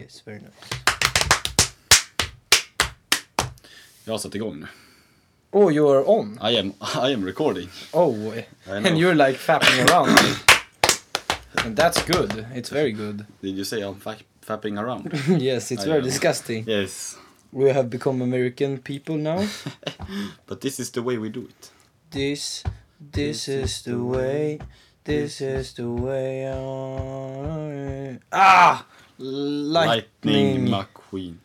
Yes, very nice. Jag har satt igång nu. Oh, you're on. I am, I am recording. Oh, I and know. you're like fapping around. and that's good. It's very good. Did you say I'm fa- fapping around? yes, it's I very know. disgusting. yes. We have become American people now. But this is the way we do it. this, this is the way. This is the way. I... Ah, lightning. McQueen.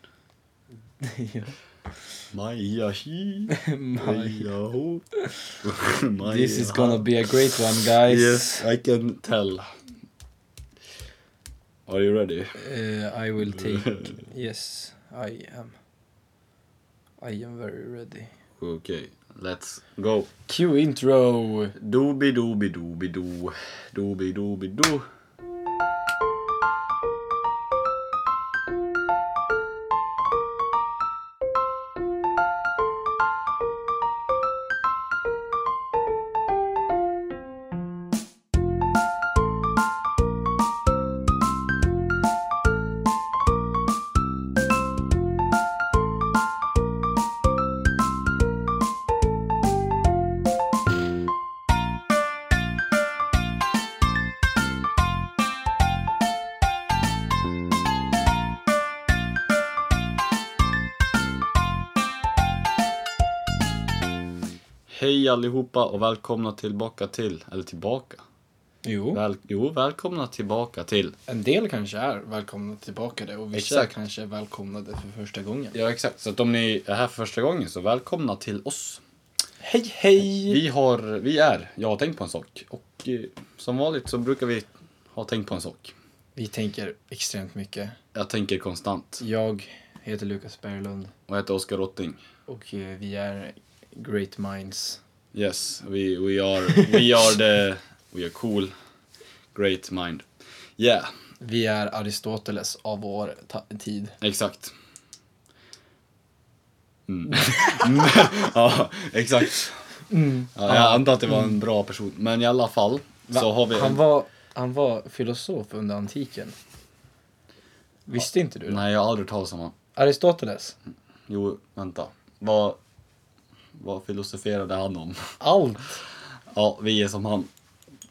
Maja hi, My- Maja ho. Maja this is ha. gonna be a great one, guys. Yes, I can tell. Are you ready? Uh, I will take. yes, I am. I am very ready. Okay, let's go. Cue intro. Doobie doobie doobie doo. Doobie doobie doo. Hej allihopa och välkomna tillbaka till, eller tillbaka. Jo, Väl, jo, välkomna tillbaka till. en del kanske är välkomna tillbaka det och vissa Exakt. kanske är välkomnade för första gången. Ja, exakt. Så att om ni är här för första gången så välkomna till oss. Hej hej! Vi har, vi är, jag har tänkt på en sak. Och eh, som vanligt så brukar vi ha tänkt på en sak. Vi tänker extremt mycket. Jag tänker konstant. Jag heter Lukas Berglund Och jag heter Oskar Rotting. och eh, vi är Great Minds. Yes, we, we are, we are the, we are cool, great mind. Yeah, Vi är Aristoteles av vår ta- tid. exakt. Mm. ja, exakt. Mm. Ja, jag antar att det var en bra person. Men i alla fall så har vi... han, var, han var filosof under antiken. Visste inte du det? Nej, jag har aldrig talat om honom. Aristoteles. Jo, vänta. Vad, vad filosoferade han om? Allt! Ja, vi är som han.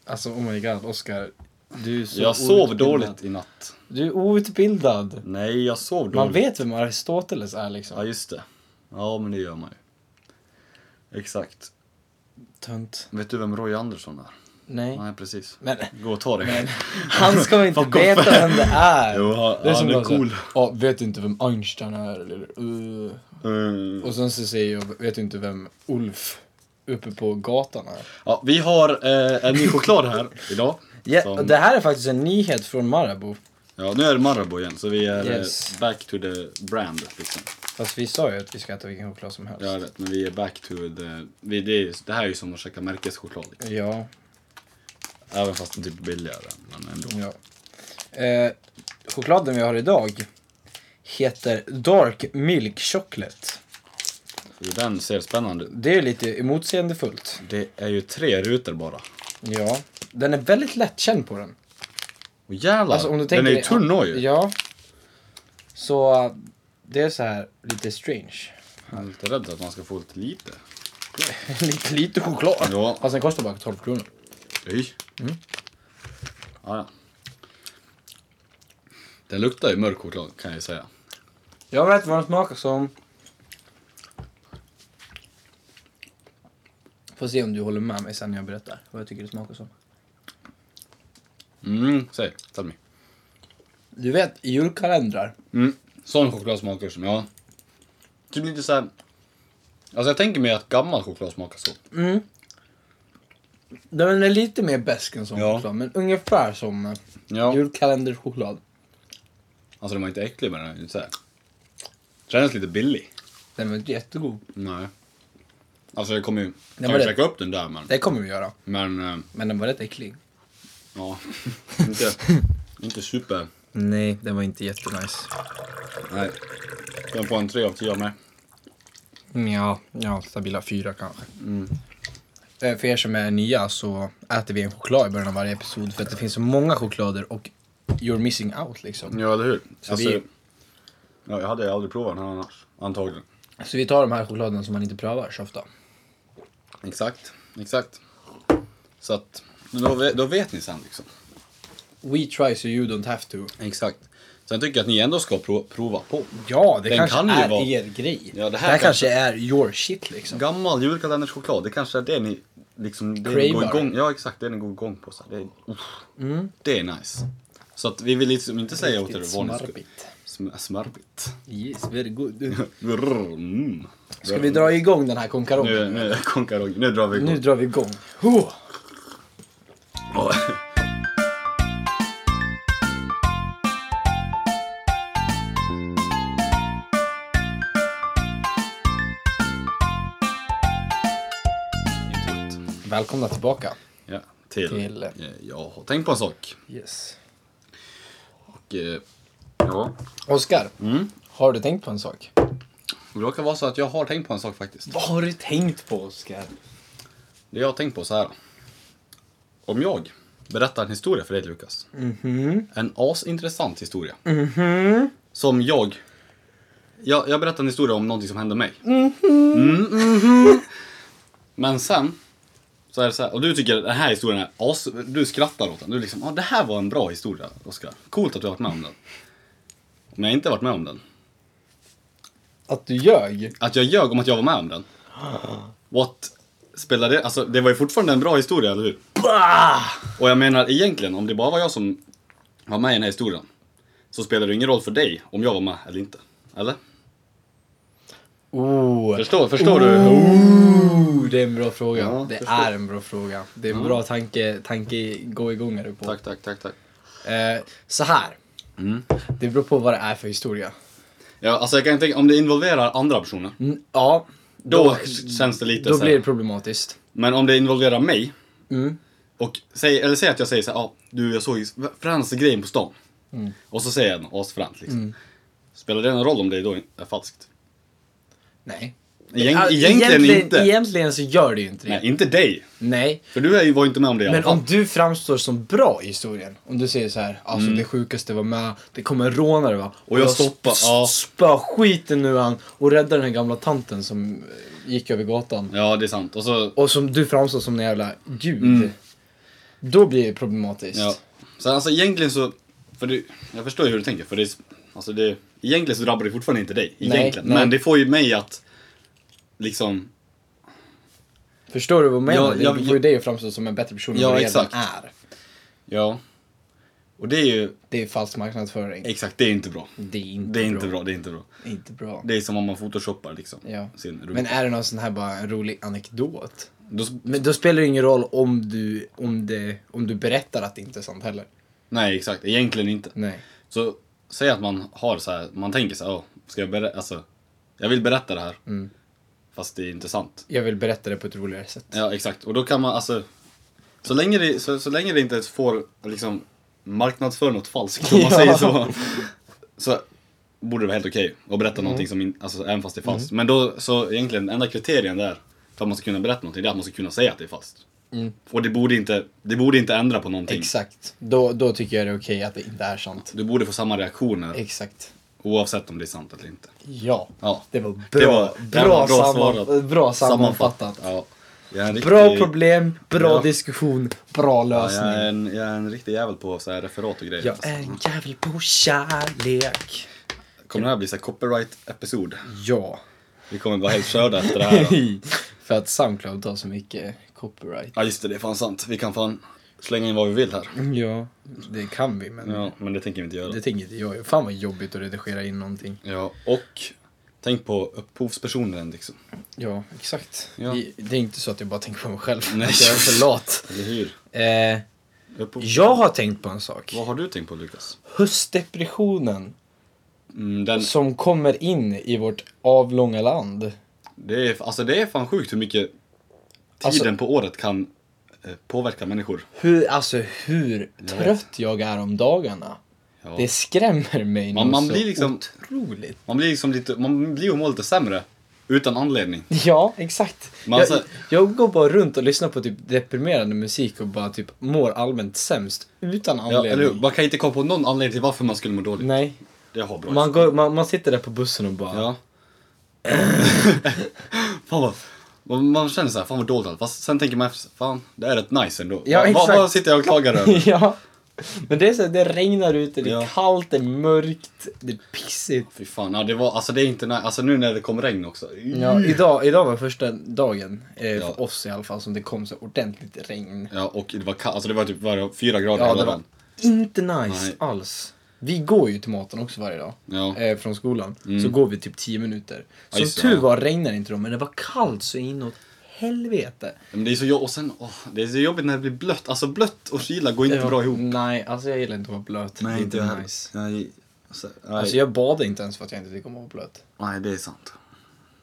Alltså oh my god, Oscar. Du är så jag sov outbildad. dåligt i natt. Du är outbildad. Nej, jag sov dåligt. Man vet vem Aristoteles är Ja, liksom. just det. Ja, men det gör man ju. Exakt. Tönt. Vet du vem Roy Andersson är? Nej. Nej, precis. Men Gå och ta det. Men- han ska inte Fuck off. veta vem det är. Jo, han, det är som han är bara så här, cool. Ja, vet du inte vem Einstein är eller? Uh. Mm. Och sen så säger jag, vet du inte vem Ulf uppe på gatan är? Ja, vi har eh, en ny choklad här idag. som- det här är faktiskt en nyhet från Marabou. ja, nu är det Marabou igen, så vi är eh, Yes. back to the brand. Liksom. Fast vi sa ju att vi ska äta vilken choklad som helst. Jag vet, men vi är back to the... Vi, det, är, ju- det här är ju som att käka märkeschoklad. Liksom. Ja, Även fast den typ är billigare. Men ändå. ja. Eh, chokladen vi har idag heter Dark Milk Chocolate. Och Den ser spännande ut. Det är lite emotseendefullt. Det är ju tre rutor bara. Ja. Den är väldigt lättkänd på den. Och jävlar! Alltså, om du den tänker är ju dig- tunn också ju. Ja. Så eh, det är så här lite strange. Jag är lite rädd att man ska få lite lite. lite, lite choklad. Ja. Fast den kostar bara 12 kronor. Oj. Mm. Ja, ja. Den luktar ju mörk choklad kan jag ju säga. Jag vet vad den smakar som. Får se om du håller med mig sen när jag berättar vad jag tycker det smakar som. Mm, säg. Tell me. Du vet, julkalendrar. Mm. Sån choklad smakar som jag. Typ lite såhär... Alltså jag tänker mig att gammal choklad smakar så. Mm. Den är lite mer besk än sån Ja. choklad, men ungefär som eh, Ja. julkalenderchoklad. Alltså den var inte äcklig men den är ju såhär... Kändes lite billig. Den var jättegod. Nej. Alltså jag kommer ju... Jag men kan ju det- käka upp den där men... Det kommer vi göra. Men... eh, Men den var rätt äcklig. Ja. inte, inte super. Nej, den var inte jättenice. Nej. Den får en 3 av 10 av mig. Mm, Ja, ja stabila fyra kanske. Mm. Eh, För er som är nya så äter vi en choklad i början av varje episod för att det finns så många choklader och you're missing out liksom. Ja, eller hur? Så alltså, vi- ja, jag hade aldrig provat den här annars. Antagligen. Så vi tar de här chokladerna som man inte prövar så ofta. Exakt, exakt. Så att, då, ve- då vet ni sen liksom. We try so you don't have to. Exakt. Sen tycker jag att ni ändå ska pro- prova på. Ja, det Den kanske kan ju är vara- er grej. Ja, det det här här kanske- kanske är your shit liksom. Gammal julkalenderschoklad, det kanske är det ni liksom, det ni går Cravar. igång Ja exakt, det ni går igång på. Så här. det, är, uff, det är nice. Så att vi vill liksom inte säga åt er Mm. Riktigt vad ni ska... smarrigt. Sm- Smarrigt. Yes, very good. Grrr, Mm. Ska vi dra igång den här Nu, konkarongen? nu, konkarong, nu drar vi igång. Nu drar vi igång. Huh! Åh. Välkomna tillbaka. Ja, till. Till. Eh, Jag har tänkt på en sak. Yes. Och, eh, ja, Oskar, Mm. har du tänkt på en sak? det råkar vara så att jag har tänkt på en sak faktiskt. Vad har du tänkt på Oskar? Det jag har tänkt på är så här. Om jag berättar en historia för dig Lukas. En asintressant historia. Som jag, jag... Jag berättar en historia om någonting som hände mig. Mm, mhm. Men sen så är det så här, och du tycker den här historien är as... Du skrattar åt den. Du liksom, ja ah, det här var en bra historia Oskar. Coolt att du har varit med om den. Om jag inte varit med om den. Att du ljög? Att jag ljög om att jag var med om den. What spelar det? Alltså det var ju fortfarande en bra historia, eller hur? Och jag menar egentligen, om det bara var jag som var med i den här historien. Så spelar det ingen roll för dig om jag var med eller inte. Eller? Oh. Förstår, förstår du? Oh, det är en bra fråga. Ja, det förstår. är en bra fråga. Det är en bra tanke, tanke gå igångare på. Tack, Mm. tack, tack, tack. Eh, så här. Det beror på vad det är för historia. Ja, alltså jag kan tänka, om det involverar andra personer, Mm, ja, då, då, känns det lite då så blir här. det problematiskt. Men om det involverar mig, Mm. och säg, eller säg att jag säger så här, ah, du jag såg ju Frans grejen på stan. Mm. Och så säger jag en asfrant liksom. Spelar det någon roll om det då är falskt? Nej. Egent, Ja, egentligen, inte. Egentligen e- så gör det ju inte det. Nej, inte dig. Nej. För du är ju- var ju inte med om det i alla Men fall. om du framstår som bra i historien, om du säger så här, alltså det sjukaste var med, det kom en rånare va? Mm. Och jag stoppar- sp- ja. spö skiten nu han och räddar den här gamla tanten som eh, gick över gatan. Ja, det är sant. Och så... Och som du framstår som en jävla gud. Då blir det problematiskt. Mm. Ja. Så alltså egentligen så... För det, jag förstår ju hur du tänker. För det, är- alltså det, egentligen så drabbar det fortfarande inte dig. Nej, Egentligen. nej. Men det får ju mig att... Liksom... Förstår du vad jag menar? Ja, jag- det får ju dig att framstå som en bättre person Ja, än vad du redan exakt. är. Ja. Och det är ju... Det är falsk marknadsföring. Exakt, det är inte bra. det är inte Det är bra. inte bra, det är inte bra. Inte bra. Det är som om man photoshoppar liksom. Ja. Sin rumpa. Men är det någon sån här bara en rolig anekdot? Då, s- Men då spelar det ingen roll om du, om det, om du berättar att det inte är sant heller. nej, exakt. Egentligen inte. Nej. Så säg att man har så här, man tänker så här, "Åh, ska jag berätta, alltså, jag vill berätta det här. Fast det är inte sant. Jag vill berätta det på ett roligare sätt. Ja, exakt. Och då kan man, alltså, så länge det, så, så länge det inte ens får liksom marknadsför något falskt, om man Ja. säger så, så borde det vara helt okej att berätta någonting som, in, alltså, även fast det är falskt. Men då, så egentligen, enda kriterien där för att man ska kunna berätta någonting, det är att man ska kunna säga att det är falskt. Och det borde inte, det borde inte ändra på någonting. Exakt. Då, då tycker jag det är okej att det inte är sant. Du borde få samma reaktioner Exakt. oavsett om det är sant eller inte. Ja. Ja. Det var bra, Det var- det bra, var bra samman, svarat. bra sammanfattat. Ja. Jag är en Bra riktig- problem, bra Ja. diskussion, bra Ja, lösning. jag, är en, jag är en riktig jävel på så här referat och grejer. Jag är en jävel på kärlek. Kommer det här bli så här copyright-episod? Ja. Vi kommer vara helt körda efter det här. För att Soundcloud tar så mycket copyright. Ja just det, det är fan sant. Vi kan fan slänga in vad vi vill här. Ja, det kan vi men Ja, men det tänker vi inte göra. Mm. det tänker inte jag. Fan vad jobbigt att redigera in någonting. Ja, och tänk på upphovspersonen liksom. Ja, exakt. Ja. Det- Det är inte så att jag bara tänker på mig själv. Nej. Att jag är för lat. Eller hur? Eh, Upphov... jag har tänkt på en sak. Vad har du tänkt på Lukas? Höstdepressionen Mm, den, som kommer in i vårt avlånga land. det, är, alltså, det är fan sjukt hur mycket Alltså- tiden på året kan eh, påverka människor. Hur, alltså hur vet. trött jag är om dagarna. Ja. Det skrämmer mig Man- nog man så blir liksom- otroligt. Man blir liksom lite, man blir ju må lite sämre Utan anledning. Ja, exakt. Men jag, alltså- jag går bara runt och lyssnar på typ deprimerande musik och bara typ mår allmänt sämst. Utan Ja, anledning. eller hur? Man kan inte komma på någon anledning till varför man skulle må dåligt. Nej. Det har bra Man, går, man, man sitter där på bussen och bara... Ja. fan vad, man, man känner såhär, fan vad dåligt allt. Fast sen tänker man efter, fan det är rätt nice ändå. Ja, Vad- exakt. Vad, vad sitter jag och klagar över? Ja. Men det är så här, det regnar ute, det är Ja. kallt, det är mörkt, det är pissigt. Fy fan, ja, det var, alltså det är inte nice. Alltså nu när det kom regn också. Ja, idag, idag var första dagen, eh, Ja. för oss i alla fall, som det kom så ordentligt regn. Ja, och det var kallt, alltså det var typ var det fyra grader Ja, hela det var dagen. inte nice Nej. alls. Vi går ju till maten också varje dag. Ja. Eh, från skolan. Så går vi typ 10 minuter. Ja, Som just det, tur ja. var regnade inte då, men det var kallt så inåt helvete. Men det är så jobbigt, och sen, åh, det är så jobbigt när det blir blött. Alltså blött och kyla går inte Ja, bra ihop. Nej, alltså jag gillar inte att vara blöt. det är inte nice. Nej, alltså, nej, Alltså jag badade inte ens för att jag inte tycker om att vara blöt. nej, det är sant.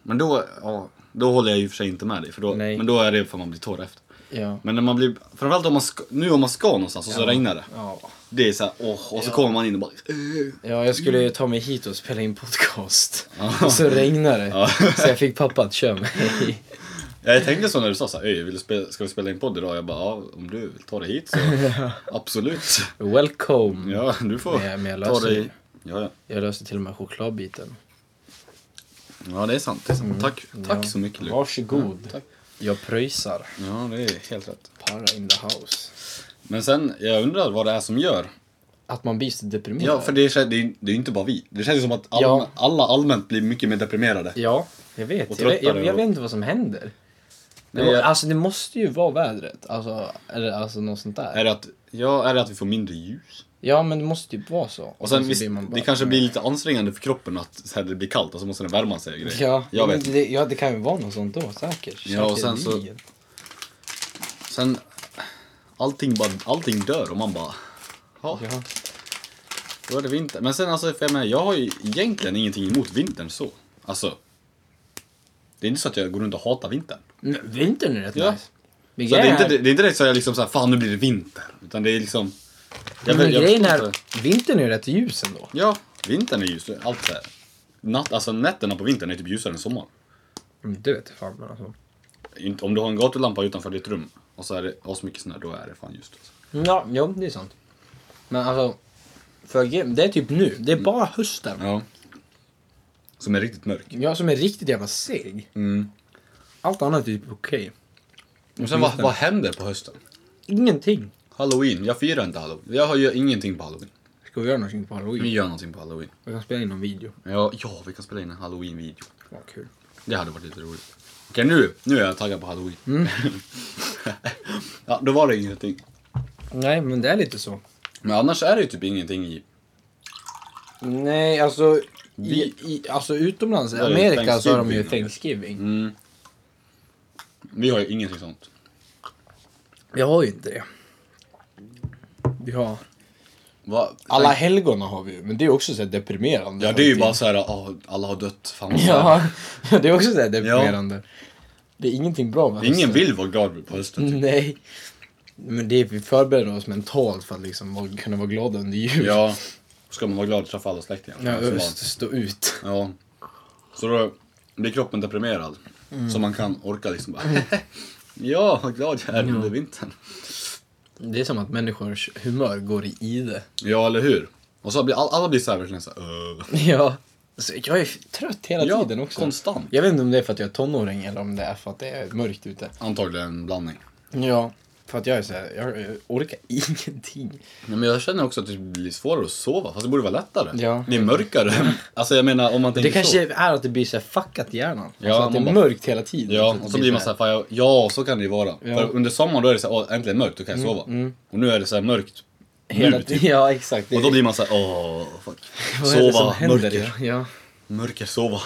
Men då, ja, då håller jag ju för sig inte med dig. För då, Nej. men då är det för man blir torr efter. Ja. Men när man blir, framförallt om man ska, nu om man ska någonstans och så regnar det. Ja. Det är såhär, åh, och så kommer man in och bara... "Äh." "Ugh." ja, jag skulle ju ta mig hit och spela in podcast. Och så regnade det. Så jag fick pappa att köra mig. Jag tänkte så när du sa såhär, "Ey, vill du spela, ska vi spela in podd idag? Jag bara, ja, om du vill ta dig hit så absolut. Welcome. Ja, du får Men jag- men jag ta löser dig... det. Ja, ja. Jag löste till och med chokladbiten. ja, det är sant. Det är sant. Mm. Tack, tack så mycket Luke. Varsågod. tack. Jag pröjsar. Ja, det är helt rätt. Para in the house. Men sen, jag undrar vad det är som gör. Att man blir så deprimerad. Ja, för det, kän- det, är- det är ju inte bara vi. Det känns ju som att alla, Ja. alla allmänt blir mycket mer deprimerade. Ja, jag vet. Och Jag, vet- tröttare jag, jag och- vet inte vad som händer. Det, Nej, må- jag- alltså det måste ju vara vädret, alltså, eller alltså något sånt Är där. det att, ja, är det att vi får mindre ljus? Ja men det måste ju vara så. Och sen så visst, blir man bara- det kanske blir lite ansträngande för kroppen att så här, det blir kallt och så måste den värma sig och grejer. Ja, jag men vet. Det, ja, det kan ju vara något sånt då säkert. Ja, och sen så- Säkerligen. Sen, allting, bara, allting dör och man bara, ja, Ja. då är det vinter. Men sen alltså, för jag, menar, jag har ju egentligen ingenting emot vintern så. Alltså, det är inte så att jag går runt och hatar vintern. Nej, Vintern är rätt Ja. nice. Men Så det, är grejen inte, är- det är inte direkt så att jag liksom så här, fan nu blir det vinter. Utan det är liksom... Jag, men jag grejen förstår är, inte. vintern är ju rätt ljus ändå. Ja, vintern är ljus. Allt så här. Natt, alltså nätterna på vintern är typ ljusare än sommaren. Mm, det vet jag fan men alltså. Inte- Om du har en gatulampa utanför ditt rum och så är det asmycket snö, då är det fan ljust. Alltså. Ja, jo det är sant. Men alltså, för grejen- det är typ nu, det är bara hösten. Ja. Som är riktigt mörk. Jag som är riktigt jävla seg. Mm. Allt annat är typ okej. Men sen vad, vad händer på hösten? Ingenting. Halloween. Jag firar inte halloween. Jag har ju ingenting på halloween. Ska vi göra någonting på halloween? Vi gör någonting på halloween. Vi kan spela in någon video. Ja, ja vi kan spela in en halloween-video. Vad kul. Det hade varit lite roligt. Mm. Okej, nu, nu är jag taggad på halloween. ja, då var det ingenting. Nej, men det är lite så. Men annars är det ju typ ingenting i... Nej, alltså... Vi- I, i, alltså utomlands, i är ju Amerika så har de ju Thanksgiving. Thanksgiving. Mm. Vi har ju ingenting sånt. Vi har ju inte det. Vi har... Va? Alla helgona har vi ju, men det är också så här deprimerande. Ja, det är ju bara så här, ah, alla har dött. Fan, vad Ja, det är också så här deprimerande. deprimerande. Det är ingenting bra med fan. Ingen vill vara glad på hösten. typ. Nej. Men det är, vi förbereder oss mentalt för att liksom vara- kunna vara glada under jul. Ja, ska man vara glad att träffa alla släktingar. Ja, Alltså, öst, stå ut. bara- ja. Så då blir kroppen deprimerad. Mm. Så man kan orka liksom bara, ja, vad glad jag är under vintern. Det är som att människors humör går i ide. Ja, eller hur? Och så blir alla, alla blir så här verkligen så här, "Öh." Ja. Alltså, jag är trött hela tiden också. konstant. Jag vet inte om det är för att jag är tonåring eller om det är för att det är mörkt ute. Antagligen en blandning. Ja. För att jag är såhär, jag jag orkar ingenting. Nej, men jag känner också att det blir svårare att sova, fast det borde vara lättare. Ja. Det är mörkare. Alltså jag menar om man tänker Det kanske så. är att det blir såhär fuckat i hjärnan. Ja, alltså att det är man bara- mörkt hela tiden. Typ. Ja, att och det så blir man här- såhär, fan, jag, ja så kan det ju vara. Ja. Mm, För under sommaren då är det såhär, åh äntligen mörkt, då kan jag sova. Och nu är det såhär mörkt. hela nu, tiden. Ja, exakt. Det- Och då blir man såhär, åh fuck. vad är det som Sova, händer? mörker. Ja. Mörker, sova.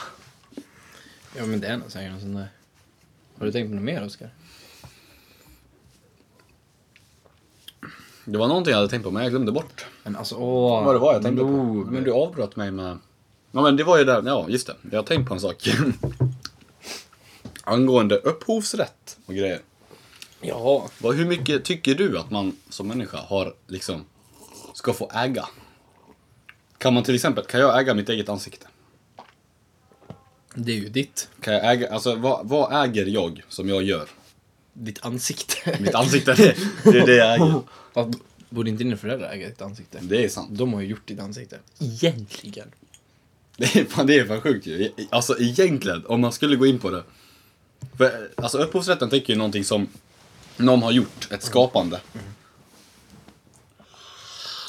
ja, men det är nog säkert något sånt där. Har du tänkt på något mer, Oskar? Det var någonting jag hade tänkt på men jag glömde bort. Men alltså, åh. Vad det var jag tänkte på. Lob. Men du avbröt mig med... Ja men det var ju där, ja just det. Jag har tänkt på en sak. Angående upphovsrätt och grejer. Ja. Vad, hur mycket tycker du att man som människa har liksom ska få äga? Kan man till exempel, kan jag äga mitt eget ansikte? Det är ju ditt. Kan jag äga, alltså, vad, vad äger jag som jag gör? Ditt ansikte. Mitt ansikte, det, det är det jag äger. Ja, Borde inte dina föräldrar äga ditt ansikte? Det är sant. De har ju gjort ditt ansikte. Egentligen. Det är fan, det är fan sjukt ju. E- Alltså egentligen, om man skulle gå in på det. För, alltså upphovsrätten täcker ju någonting som någon har gjort, ett skapande.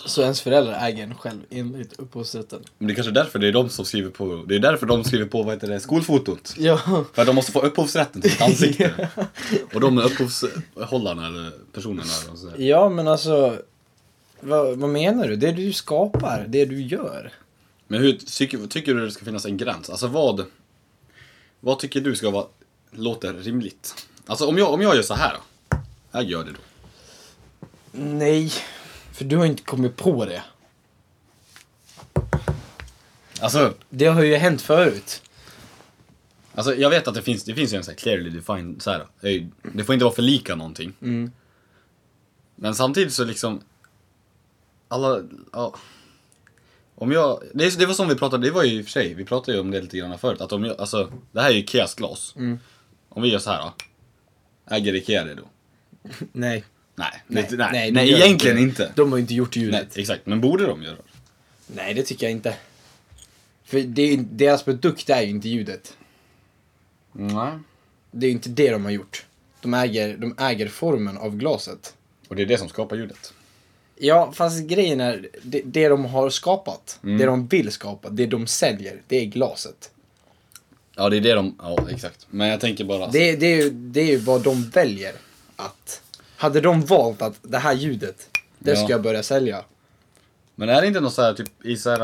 Så ens föräldrar äger en själv enligt upphovsrätten? Men det är kanske är därför det är de som skriver på, det är därför de skriver på, vad heter det, skolfotot. Ja. För att de måste få upphovsrätten till sitt ansikte. Och de är upphovshållarna eller personerna eller vad man säger. Ja, men alltså. Vad, vad menar du? Det du skapar, det du gör. Men hur tycker, tycker du det ska finnas en gräns? Alltså vad, vad tycker du ska vara, låter rimligt? Alltså om jag, om jag gör så här då. Här gör det då. Nej, för du har ju inte kommit på det. Alltså, Det har ju hänt förut. Alltså jag vet att det finns, det finns ju en sån här clearly defined så här, höjd. Det får inte vara för lika någonting. Mm. Men samtidigt så liksom alla, ja. Om jag, det, är- det var som vi pratade, det var ju i och för sig, vi pratade ju om det lite grann förut. Att om jag, alltså det här är ju Ikeas glas. Mm. Om vi gör så här då. Äger Ikea det då? Nej. Nej, nej, nej, nej, de gör egentligen det. inte. De har ju inte gjort ljudet. Nej, Nej. exakt, men borde de göra det? det tycker jag inte. För det är, deras produkt är ju inte ljudet. Nej. Det är ju inte det de har gjort. De äger, de äger formen av glaset. Och det är det som skapar ljudet. Ja, fast grejen är, det, det de har skapat, Mm. det de vill skapa, det de säljer, det är glaset. Ja, det är det de, ja exakt. Men jag tänker bara, Det, det, är ju, det är ju vad de väljer att... Hade de valt att det här ljudet, det Ja. ska jag börja sälja. Men är det inte något så här typ i så här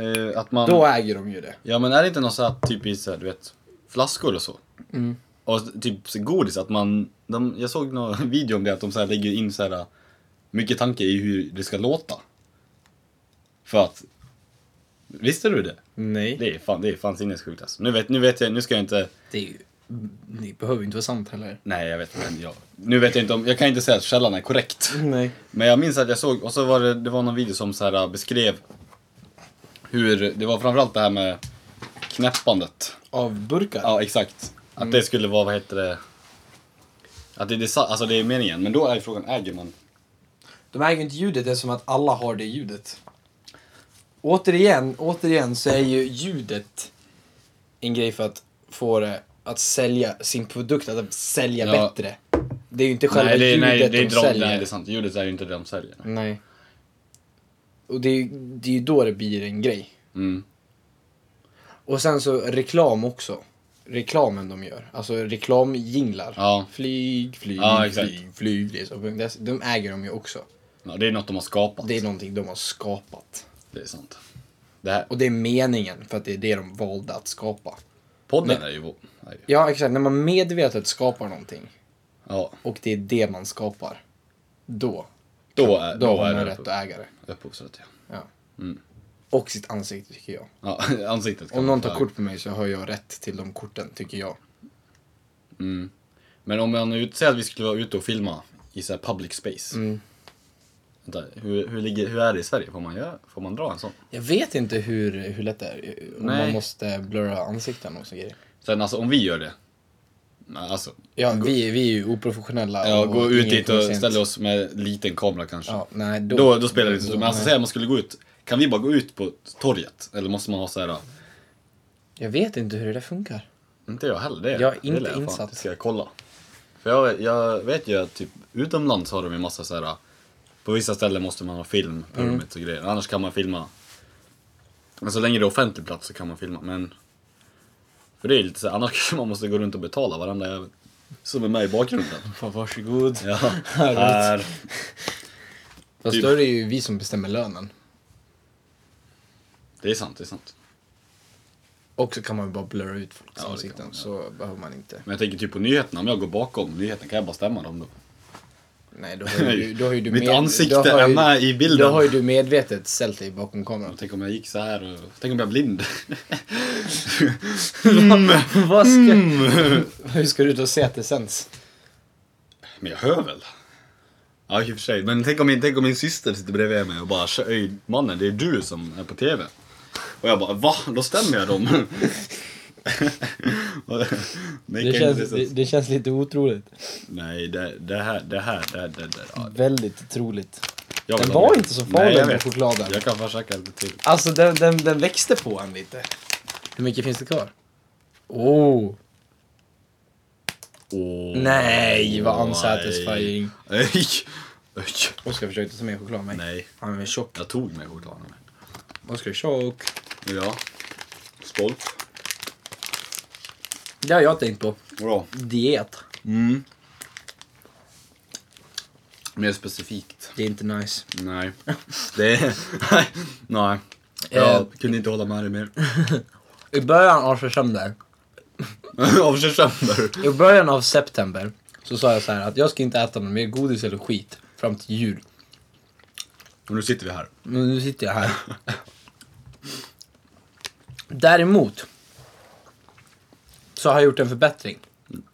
eh, att man... Då äger de ju det. Ja men är det inte något så här typ i så här, du vet, flaskor och så? Mm. Och typ så godis, att man... De, jag såg någon video om det, att de så här lägger in så här mycket tanke i hur det ska låta. För att... Visste du det? Nej. Det är fan, det är fan sinnessjukt alltså. Nu vet, nu vet jag, nu ska jag inte... Det, är ju, det behöver ju inte vara sant heller. Nej jag vet men jag... Nu vet jag inte om, jag kan inte säga att källan är korrekt. Nej. Men jag minns att jag såg, och så var det, det var någon video som så här äh, beskrev hur, det var framförallt det här med knäppandet. Av burkar? Ja, exakt. Att Mm. det skulle vara, vad heter det? Att det är, desa- alltså det är meningen, men då är frågan, äger man? De äger ju inte ljudet eftersom att alla har det ljudet. Återigen, återigen så är ju ljudet en grej för att få det att sälja sin produkt, att sälja Ja. bättre. Det är ju inte själva det är, ljudet nej, det är de dra- säljer. nej, det är sant. Ljudet är ju inte det de säljer. Nej. Och det är, ju- det är ju då det blir en grej. Mm. Och sen så reklam också. Reklamen de gör. Alltså reklamjinglar. Ja. Flyg, flyg, Ja, exakt. flyg, flyg. Det är så. De äger de ju också. Ja, det är något de har skapat. Det är någonting de har skapat. Det är sant. Det här, Och det är meningen för att det är det de valde att skapa. podden är ju vår. är ju- Ja, exakt. När man medvetet skapar någonting Ja, och det är det man skapar. Då, då är, då då har är man det rätt upp, att äga det. upphovsrätt. Ja. Ja. Mm. Och sitt ansikte tycker jag. Ja, ansiktet kan Om man någon ta- tar kort på mig så har jag rätt till de korten, tycker jag. Mm. Men om man ut, säger att vi skulle vara ute och filma i så här public space. Mm. Vänta, hur, hur, ligger, hur är det i Sverige? Får man, göra, får man dra en sån? Jag vet inte hur, hur lätt det är. Om Nej. man måste blurra ansikten och så grejer. Sen alltså om vi gör det. Nej, Alltså, Ja, vi, vi är ju oprofessionella. ja, och gå ut ingen dit kommer och sent. ställa oss med liten kamera kanske. Ja, nej, då, Då, då spelar det inte så då- Men alltså nej. säg att man skulle gå ut. Kan vi bara gå ut på torget? Eller måste man ha så här? ja, Jag vet inte hur det där funkar. Inte jag heller. Det, Jag är det inte lär fan. insatt. Det ska jag kolla. För jag, jag vet ju att typ utomlands har de ju massa så här. ja, På vissa ställen måste man ha film på Mm. rummet och grejer. Annars kan man filma. Men så länge det är offentlig plats så kan man filma. Men. För det är ju lite så här, annars kanske man måste gå runt och betala varenda jävel. Som är med i bakgrunden. Fan, varsågod. Ja, Härligt. här. Fast typ. då är det ju vi som bestämmer lönen. Det är sant, det är sant. Och så kan man ju bara blurra ut folks Ja, det ansikten. kan man, ja. Så behöver man inte. Men jag tänker typ på nyheterna, om jag går bakom nyheterna, kan jag bara stämma dem då? Nej, då har ju, då har ju du Mitt ansikte då har är med i bilden. Då har ju du medvetet ställt dig bakom kameran. Tänk om jag gick så här och... Tänk om jag är blind? Mm. Vad ska... Hur ska du då se att det sänds? Men jag hör väl? Ja, i och för sig. Men tänk om min, tänk om min syster sitter bredvid mig och bara "Tja, Öj, mannen, det är du som är på TV. Och jag bara, va? Då stämmer jag dem. Det Make känns, känns, det, det känns lite otroligt. Nej, det, det här, det här, det här, det, det, ja. Väldigt troligt. jag Den vill var ha mer. inte så Nej, farlig jag den där vet. chokladen. Jag kan försöka lite till. Alltså den, den, den växte på en lite. Hur mycket finns det kvar? Oh. Åh, Nej, vad nej. unsatisfying. Ej, ej, Oskar försökte ta mer choklad än mig. nej. Han är tjock. Jag tog mig fortfarande. Oskar är tjock. Ja. Skål. Det har jag tänkt på. Bra. Diet. Mm. Mer specifikt. Det är inte nice. Nej. Det är... Nej. Jag Eh. kunde inte hålla med dig mer. I början av september, Av september. i början av september så sa jag så här att jag ska inte äta någon mer godis eller skit fram till jul. Och nu sitter vi här. Men nu sitter jag här. Däremot så har jag gjort en förbättring.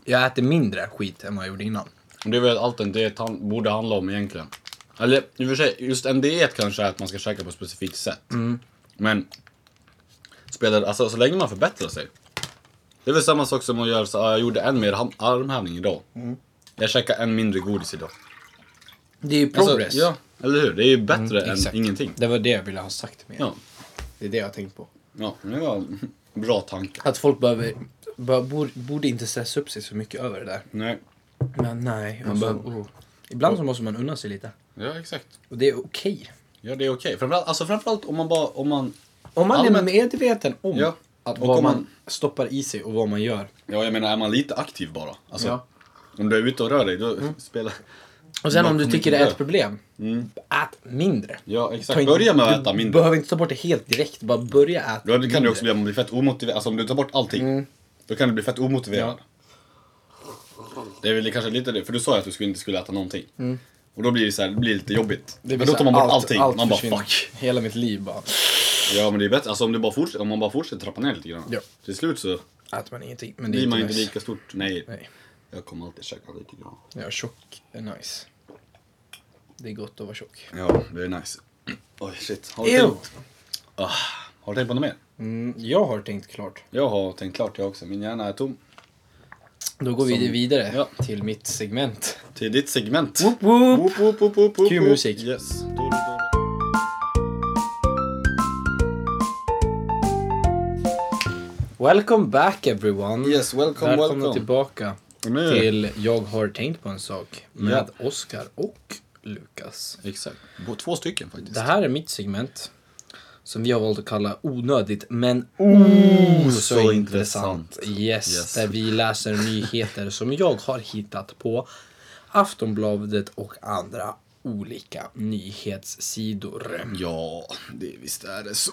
Jag äter mindre skit än vad jag gjorde innan. Och det är väl allt en diet han- borde handla om egentligen. Eller i och för sig, just en diet kanske är att man ska käka på ett specifikt sätt. Men spelar, alltså, så länge man förbättrar sig. Det är väl samma sak som att göra så, ah, jag gjorde en mer ham- armhävning idag. Jag käkar en mindre godis idag. Det är ju Alltså, progress. ja, eller hur? Det är ju bättre än Exakt. ingenting. Det var det jag ville ha sagt med. Ja, Det är det jag har tänkt på. ja men det var en bra tanke. Att folk behöver, bör, borde, borde inte stressa upp sig så mycket över det där. Nej, Men nej. Man alltså, behöver- oh. Ibland så måste man unna sig lite. ja exakt. Och det är okej. Ja, det är okej. Framförallt, alltså, framförallt om man bara, om man Om man är Allmänt- medveten om Ja. att Och vad om man, man- stoppar i sig och vad man gör. Ja, jag menar, är man lite aktiv bara. Alltså, Ja. Mm. om du är ute och rör dig, då spelar... Och sen Man om du kommer tycker det är inte ett problem, Mm. ät mindre. Ja, Ta exakt. inte- Börja med du att äta mindre. behöver inte ta bort det helt direkt, bara börja äta Då kan mindre. du också bli, bli fett omotiverad. Alltså om du tar bort allting, Mm. då kan du bli fett omotiverad. Det är väl kanske lite det, för du sa ju att du skulle, inte skulle äta någonting. Och då blir det så här, det blir lite jobbigt. Mm. Det blir Men då så tar här, man bort allt- allting. allt man bara försvinner. fuck. Hela mitt liv bara, Ja men det är bättre, alltså om, du bara fortsätter, om man bara fortsätter trappa ner lite grann. Ja. Till slut så äter man ingenting. Men det är blir inte man inte nice. lika stort. Nej, Nej, jag kommer alltid käka lite grann. jag är tjock, är nice. Det är gott att vara tjock. Ja, det är nice. Oj shit. Har du, Ew. tänkt, ah, har du tänkt på något mer? Mm, jag har tänkt klart. Jag har tänkt klart jag också, min hjärna är tom. Då går vi Som- vidare Ja. till mitt segment. Till ditt segment. Woop woop. Woop, woop, woop, woop, woop. Kul musik. Yes. Welcome back everyone. Yes, welcome, Välkomna welcome. tillbaka Nu. till Jag har tänkt på en sak med Ja. Oskar och Lukas. Exakt. Bå- Två stycken faktiskt. Det här är mitt segment som vi har valt att kalla onödigt men oh, så, intressant. så intressant. Yes, Yes. där vi läser nyheter som jag har hittat på Aftonbladet och andra olika nyhetssidor. Ja, det visst är det så.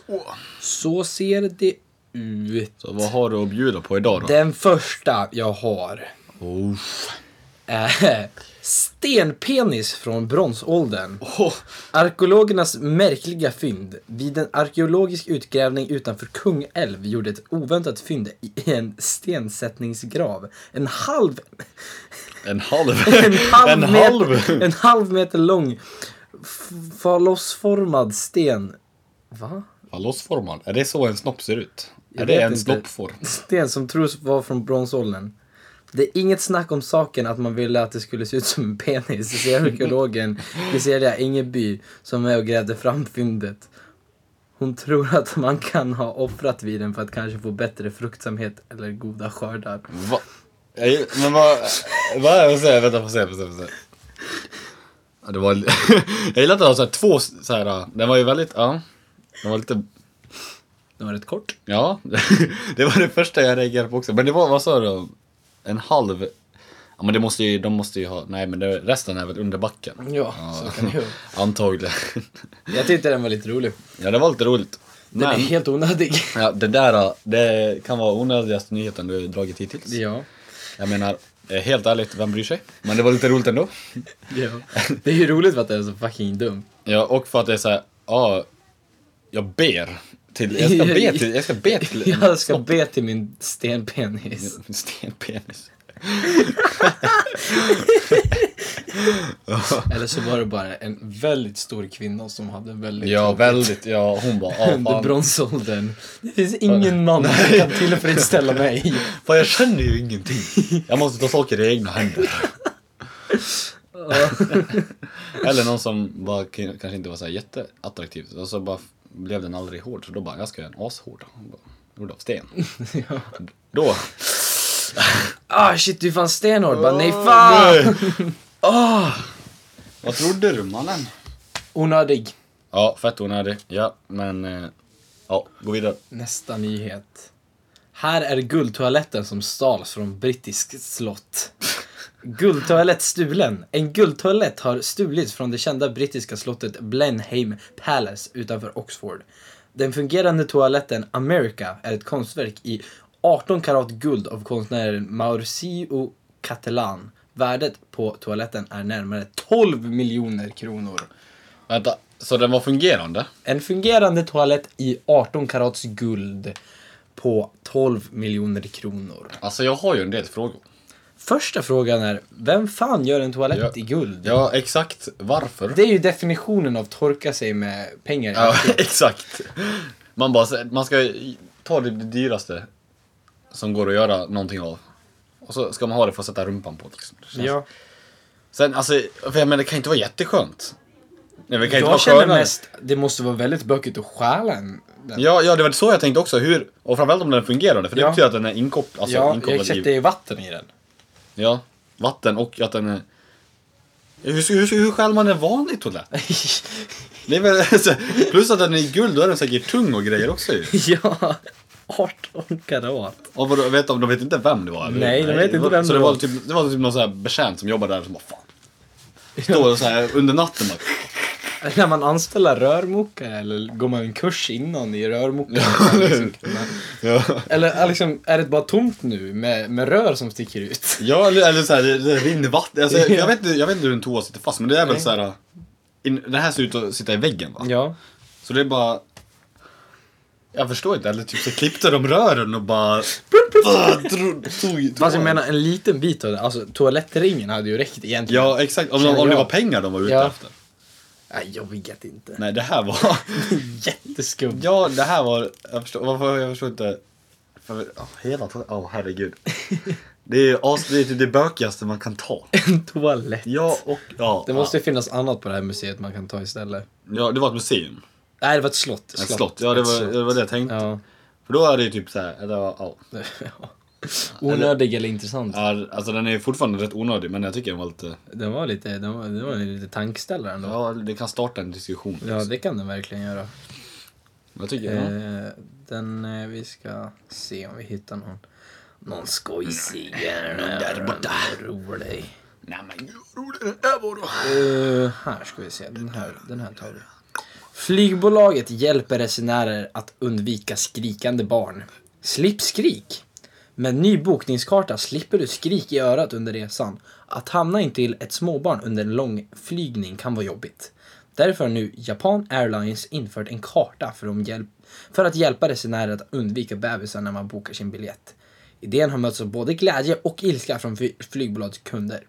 Så ser det ut. Så vad har du att bjuda på idag då? Den första jag har Oh. är stenpenis från bronsåldern. Oh. Arkeologernas märkliga fynd. Vid en arkeologisk utgrävning utanför Kungälv gjorde ett oväntat fynd i en stensättningsgrav. En halv, En halv. en halv, en meter, halv. En halv meter lång f- fallosformad sten. Va? Fallosformad, är det så en snopp ser ut? Jag är det vet en inte. snoppform? Sten som tros vara från bronsåldern. Det är inget snack om saken att man ville att det skulle se ut som en penis, säger arkeologen Gisela Ingeby som är och grävde fram fyndet. Hon tror att man kan ha offrat vid den för att kanske få bättre fruktsamhet eller goda skördar. Va? Jag- Men vad... Vad är det? Vänta, vänta, får se, får se, får se. Ja, det var... Jag gillar att det var så här två så här... ja. Den var ju väldigt... Ja. Den var lite... Den var rätt kort. Ja. Det var det första jag reagerade på också. Men det var, vad sa du? En halv... Ja men det måste ju, de måste ju ha... Nej men det, resten är väl under backen. Ja, Ja. så kan det ju. Antagligen. Jag tyckte den var lite rolig. Ja det var lite roligt. Den är Men... helt onödig. Ja, det där, äh, det kan vara onödigaste nyheten du dragit hittills. Ja. Jag menar, eh, helt ärligt, vem bryr sig? Men det var lite roligt ändå. ja. Det är ju roligt för att den är så fucking dum. Ja, och för att det är så här, ja, jag ber. Till, jag ska be till, jag ska be till en Jag ska be till min stenpenis. stenpenis. Eller så var det bara en väldigt stor kvinna som hade en väldigt Ja, tråkigt väldigt. Ja, hon bara, ah, under fan. bronsåldern. Det finns ingen man som kan tillfredsställa mig. fan, jag känner ju ingenting. Jag måste ta saker i egna händer. Eller någon som bara, k- kanske inte var så här jätteattraktiv. Och så bara f- blev den aldrig hård. Så då bara, jag ska göra en ashård. Hon bara, Gjord av sten. Ja. Då. Ah shit, du är fan stenhård. Bara, nej fan! Ah. Vad trodde du mannen? Onödig. Ja, fett onödig. Ja, men... eh, Ja, gå vidare. Nästa nyhet. Här är guldtoaletten som stals från brittiskt slott. Guldtoalett stulen. En guldtoalett har stulits från det kända brittiska slottet Blenheim Palace utanför Oxford. Den fungerande toaletten America är ett konstverk i 18 karat guld av konstnären Mauricio Catalan. Värdet på toaletten är närmare 12 miljoner kronor. Vänta, så den var fungerande? En fungerande toalett i 18 karats guld på 12 miljoner kronor. Alltså jag har ju en del frågor. Första frågan är, vem fan gör en toalett Ja. i guld? Ja, exakt varför? Det är ju definitionen av torka sig med pengar. Ja, exakt. Man bara, så- man ska ta det dyraste som går att göra någonting av. Och så ska man ha det för att sätta rumpan på. Liksom. Det känns- Ja. Sen, alltså, för jag menar, det kan inte vara jätteskönt. Nej, men det kan inte vara Jag känner skönare. mest, det måste vara väldigt bökigt att stjäla en. den. Ja, ja, det var så jag tänkte också. Hur, och framförallt om den är fungerande, för det Ja. betyder att den är inkopplad. Alltså, Ja, inkopplad jag i- sett det är vatten i den. Ja, vatten och att den är... Hur, hur, hur, hur stjäl man en vanlig toalett? Det är väl, alltså, plus att den är i guld, då är den säkert tung och grejer också ju. ja, 18 karat. Och vadå, vet de, de vet inte vem det var? eller? Nej, de vet det inte var, vem så det det var. var. Typ, det var typ någon sån här betjänt som jobbade där som bara fan. Står så här under natten bara. När man anställer rörmokare eller går man en kurs innan i rörmokare? så liksom kan man- Ja, Eller liksom, är det bara tomt nu med, med rör som sticker ut? ja eller, eller så här, det, det rinner vatten. Alltså, jag, vet, inte- jag vet inte hur en toa sitter fast, men det är väl Nej. så här. In, det här ser ut att sitta i väggen va? Ja. Så det är bara... Jag förstår inte, eller typ så klippte de rören och bara... Tog, tog, Fast jag menar en liten bit av det, alltså toalettringen hade ju räckt egentligen. Ja, exakt. Om, de- om det var pengar de var ute Ja. efter. Nej, jag vet inte. Nej, det här var... Jätteskumt. Ja, det här var... Jag förstår, varför, jag förstår inte... För, oh, hela... Åh, oh, herregud. Det är ju as- det, är typ det bökigaste man kan ta. En toalett. Ja, och... Ja, Det måste ju finnas annat på det här museet man kan ta istället. ja, det var ett museum. Nej, det var ett slott. Ett slott. Ja, det Ett var, slott. det var det jag tänkte. Ja. För då är det ju typ så här... Det var, ja. Ja. Onödig eller intressant. Ja, Alltså den är ju fortfarande rätt onödig, men jag tycker den var lite... Den var lite, den var, den var lite tankeställare ändå. Ja, det kan starta en diskussion. Ja, det kan den verkligen göra. Jag tycker... ja. Eh, den, eh, vi ska se om vi hittar någon. Någon skojsig. Där borta. Rolig. Nej men gud, rolig den där var då. Eh, här ska vi se. Den här, den här tar vi. Flygbolaget hjälper resenärer att undvika skrikande barn. Slipp skrik! Med ny bokningskarta slipper du skrik i örat under resan. Att hamna intill ett småbarn under en lång flygning kan vara jobbigt. Därför har nu Japan Airlines infört en karta för, om hjälp, för att hjälpa resenärer att undvika bebisar när man bokar sin biljett. Idén har mötts av både glädje och ilska från fly- flygbolagets kunder.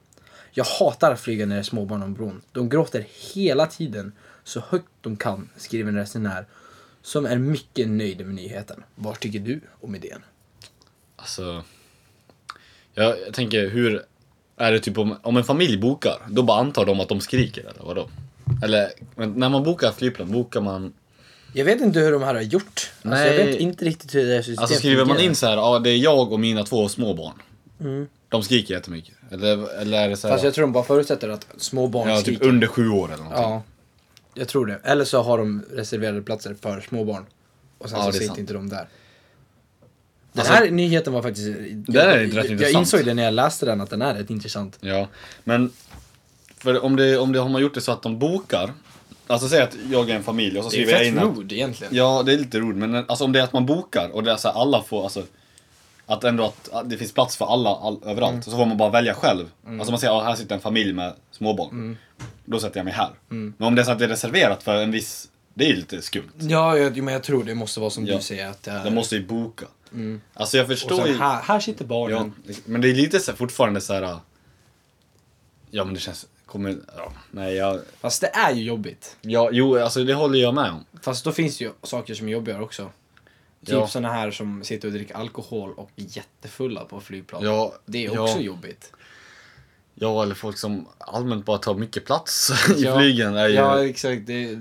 Jag hatar att flyga när det är småbarn om bron. De gråter hela tiden så högt de kan, skriver en resenär som är mycket nöjd med nyheten. Vad tycker du om idén? Alltså... Jag, jag tänker hur... Är det typ om, om en familj bokar, då bara antar de att de skriker eller vadå? Eller men när man bokar flygplan, bokar man... alltså Jag vet inte hur de här har gjort. Alltså, jag Nej. vet inte riktigt hur det här systemet Alltså skriver man fungerar. Mm. in så här, ja det är jag och mina två småbarn. De skriker jättemycket. Eller, eller är det så här, Fast jag tror de bara förutsätter att små barn ja, typ skriker. under sju år eller någonting. Ja, jag tror det. Eller så har de reserverade platser för småbarn. Och sen Ja, så det är sitter sant. inte de där. Den Alltså- här nyheten var faktiskt... här är rätt jag, jag intressant. insåg det när jag läste den, att den är rätt intressant. Ja, men... För om det, om det har man gjort det så att de bokar. Alltså säg att jag är en familj och så skriver jag in att mod egentligen. Ja, det är lite roligt, men alltså, om det är att man bokar och det är så här, alla får, alltså, att ändå att, att det finns plats för alla all, överallt, Mm. så får man bara välja själv. Alltså man säger, ah, här sitter en familj med småbarn, Mm. då sätter jag mig här. Men om det är så att det är reserverat för en viss, det är ju lite skumt. Ja, jag, men jag tror det måste vara som Ja. du säger. Att det är... De måste ju boka. Alltså jag Mm. och förstår sen, ju, här, här sitter ja, barnen. men det är lite så här, fortfarande så här, ja men det känns kommer... Ja, nej, jag... Fast det är ju jobbigt. Ja, jo, alltså det håller jag med om. Fast då finns ju saker som är jobbigare också. Typ Ja. såna här som sitter och dricker alkohol och är jättefulla på flygplan. Ja, Det är ja, också jobbigt. Ja, eller folk som allmänt bara tar mycket plats i Ja. flygen. Är ju, Ja, exakt. Det,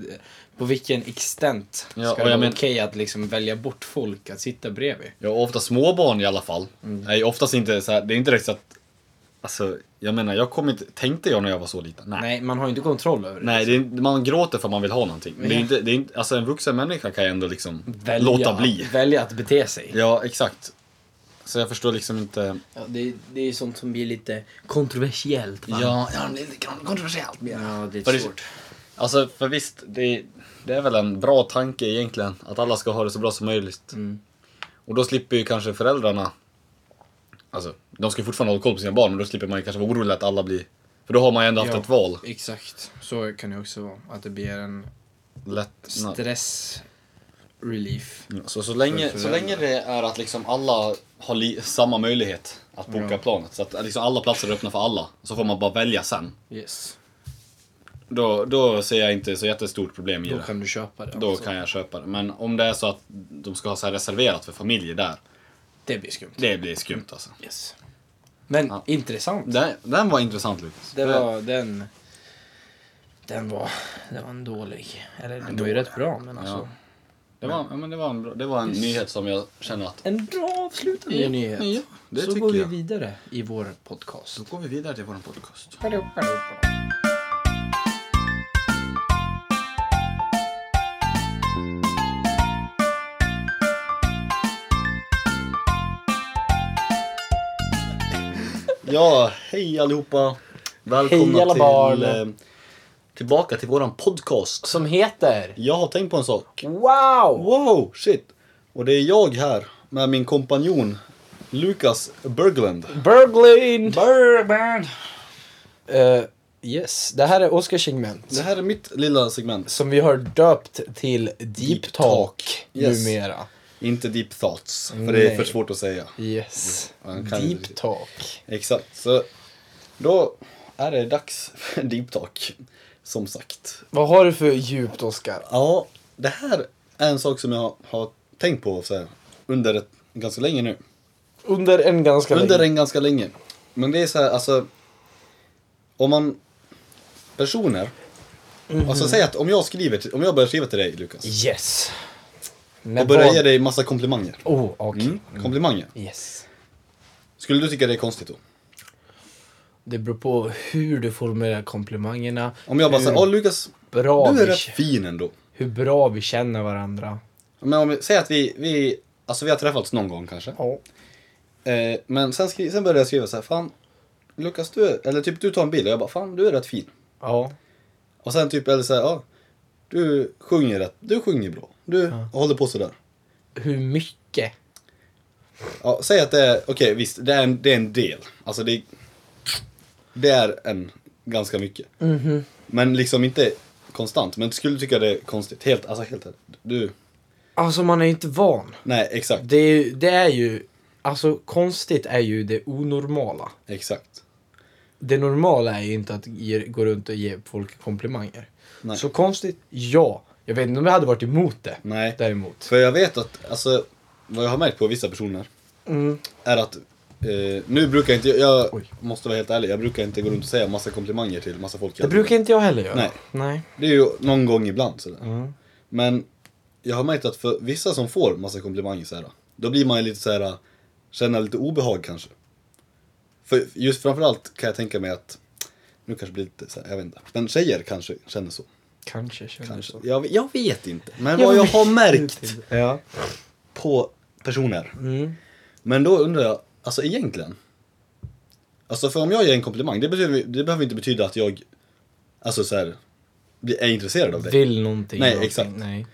på vilken extent ska Ja, och det jag vara men- okej att liksom välja bort folk att sitta bredvid? Ja, och ofta småbarn i alla fall. är ju oftast inte så här, det är inte direkt så att... Alltså, jag menar, jag kommer inte... Tänkte jag när jag var så liten? Nej. Nej, man har ju inte kontroll över det. Nej, det är, man gråter för att man vill ha någonting. Men det är Ja. inte, det är inte, alltså en vuxen människa kan ju ändå liksom Välja, låta bli. Välja att bete sig. Ja, exakt. Så jag förstår liksom inte... Ja, det, det är ju sånt som blir lite kontroversiellt. Va? ja det är lite kontroversiellt. ja, det För är det- svårt. Alltså, för visst, det, det är väl en bra tanke egentligen. Att alla ska ha det så bra som möjligt. Mm. Och då slipper ju kanske föräldrarna... Alltså, de ska ju fortfarande hålla koll på sina barn, men då slipper man ju kanske vara orolig att alla blir... För då har man ju ändå haft Ja. ett val. Exakt. Så kan det också vara. Att det blir en Lätt. stress relief. Så, så, länge, För så föräldrar. länge det är att liksom alla har li- samma möjlighet att boka Ja. planet, så att liksom alla platser är öppna för alla, så får man bara välja sen. Yes. Då, då ser jag inte så jättestort problem i Då det. kan du köpa det. Då också. kan jag köpa det. Men om det är så att de ska ha så här reserverat för familjer där, Det blir skumt. det blir skumt alltså. Yes. Men Ja. intressant. Den, den var intressant Lukas. Det var den... Den var... Det var en dålig. Eller den var dålig. ju rätt bra, men alltså. det var, ja, men det var en, bra, det var en nyhet som jag känner att... En bra avslutande. Ny nyhet. Ja, det Så går tycker vi jag. vidare i vår podcast. Då går vi vidare till vår podcast. Ja, hej allihopa! Välkomna alla till, barn. eh, tillbaka till våran podcast. Som heter... Jag har tänkt på en sak. Wow! Wow, shit! Och det är jag här med min kompanjon Lukas Berglund. Berglind! Berglund! Eh, yes, det här är Oskar Det segment. här är mitt lilla segment. Som vi har döpt till Deep Deep Talk Talk. Yes. numera. Inte deep thoughts, för det är för Nej. svårt att säga. Yes. Ja, den kan- Deep Talk. Exakt, så då är det dags för deep talk. Som sagt. Vad har du för djupt, Oskar? Ja, det här är en sak som jag har tänkt på så här, under ett, ganska länge nu. Under en ganska Under länge. en ganska länge. Men det är så här, alltså. Om man... Personer. Mhm. Alltså säg att om jag skriver, till- om jag börjar skriva till dig Lukas. Yes. Och Men börjar vad- ge dig massa komplimanger. Oh, okej. Mm, komplimanger. Yes. Skulle du tycka det är konstigt då? Det beror på hur du formulerar komplimangerna. Om jag bara säger, åh Lukas, Bra du är vi, rätt fin ändå. Hur bra vi känner varandra. Men om vi, säg att vi, vi, alltså vi har träffats någon gång kanske. Ja. Eh, men sen, skri, sen började jag skriva så här, fan Lukas du är, eller typ du tar en bild och jag bara, fan du är rätt fin. Ja. Och sen typ, eller så här, ja, du sjunger rätt, du sjunger bra. Du håller på sådär. Hur mycket? Ja, säg att det är, okej visst, det är, en, det är en del. Alltså det, det är en ganska mycket. Men liksom inte konstant. Men skulle du tycka det är konstigt? Helt, alltså helt ärligt. Du, Alltså man är ju inte van. nej exakt, Det är, ju- det är ju... Alltså konstigt är ju det onormala. exakt. Det normala är ju inte att ge, gå runt och ge folk komplimanger. Nej. Mm. Så konstigt, ja. Jag vet inte om jag hade varit emot det. Nej. Däremot. För jag vet att, alltså vad jag har märkt på vissa personer Mm. är att eh, nu brukar jag inte, jag Oj. måste vara helt ärlig, jag brukar inte gå runt och säga massa komplimanger till massa folk. Det brukar inte jag heller göra. Nej. Nej. Det är ju någon gång ibland sådär. Mm. Men jag har märkt att för vissa som får massa komplimanger så här, då blir man ju lite så här känner lite obehag kanske. För just framförallt kan jag tänka mig att, nu kanske det blir lite så här, jag vet inte, men tjejer kanske känner så. Kanske känner Kanske. så. Jag, jag vet inte. Men Mm. Jag vad jag vet har märkt Ja. på personer. Mm. Men då undrar jag, alltså egentligen. Alltså för om jag ger en komplimang, det, betyder, det behöver inte betyda att jag, alltså så här, blir- är intresserad av dig. Vill någonting. Nej, någonting. exakt. Nej.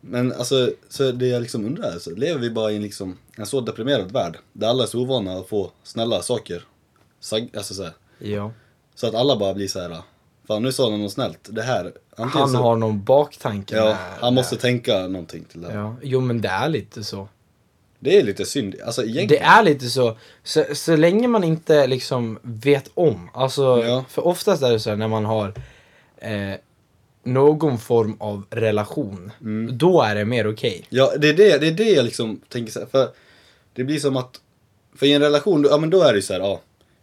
Men alltså, så det jag liksom undrar är, så lever vi bara i en, liksom, en så deprimerad värld där alla är så ovana att få snälla saker? Sag, alltså så, här, Ja. så att alla bara blir så här, fan nu sa han något snällt, det här. antingen Han så, har någon baktanke Ja, med han måste med- tänka någonting till det här. Ja. Jo men det är lite så. Det är lite synd. Alltså egentligen. Det är lite så. så. Så länge man inte liksom vet om. Alltså, Ja. För oftast är det så här när man har eh, någon form av relation. Mm. Då är det mer okej. Ja, det är det, det är det jag liksom tänker så här, för det blir som att, för i en relation, då- ja men då är det ju så här, ja,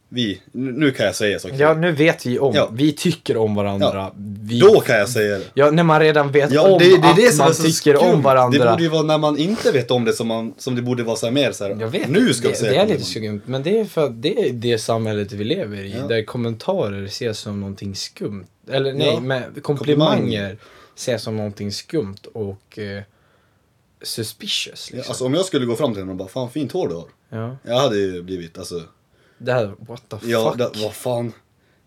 vi, nu- nu kan jag säga saker. Ja, nu vet vi om. Ja. Vi tycker om varandra. Ja. Vi, Då kan jag säga det. Ja, när man redan vet Ja, om det, det att är det som man är så tycker skumt. om varandra. Det borde ju vara när man inte vet om det som, man, som det borde vara så här mer så här, Jag vet nu ska det, jag säga det är till lite någon. skumt. Men det är för att det är det samhället vi lever i. Ja. Där kommentarer ses som någonting skumt. Eller nej, Ja. men komplimanger Komplimanger. ses som någonting skumt och eh, suspicious. Ja, Liksom. alltså om jag skulle gå fram till någon och bara, fan fint hår du har. Ja. Jag hade ju blivit, alltså, Det här, what the ja, fuck. det, vad fan,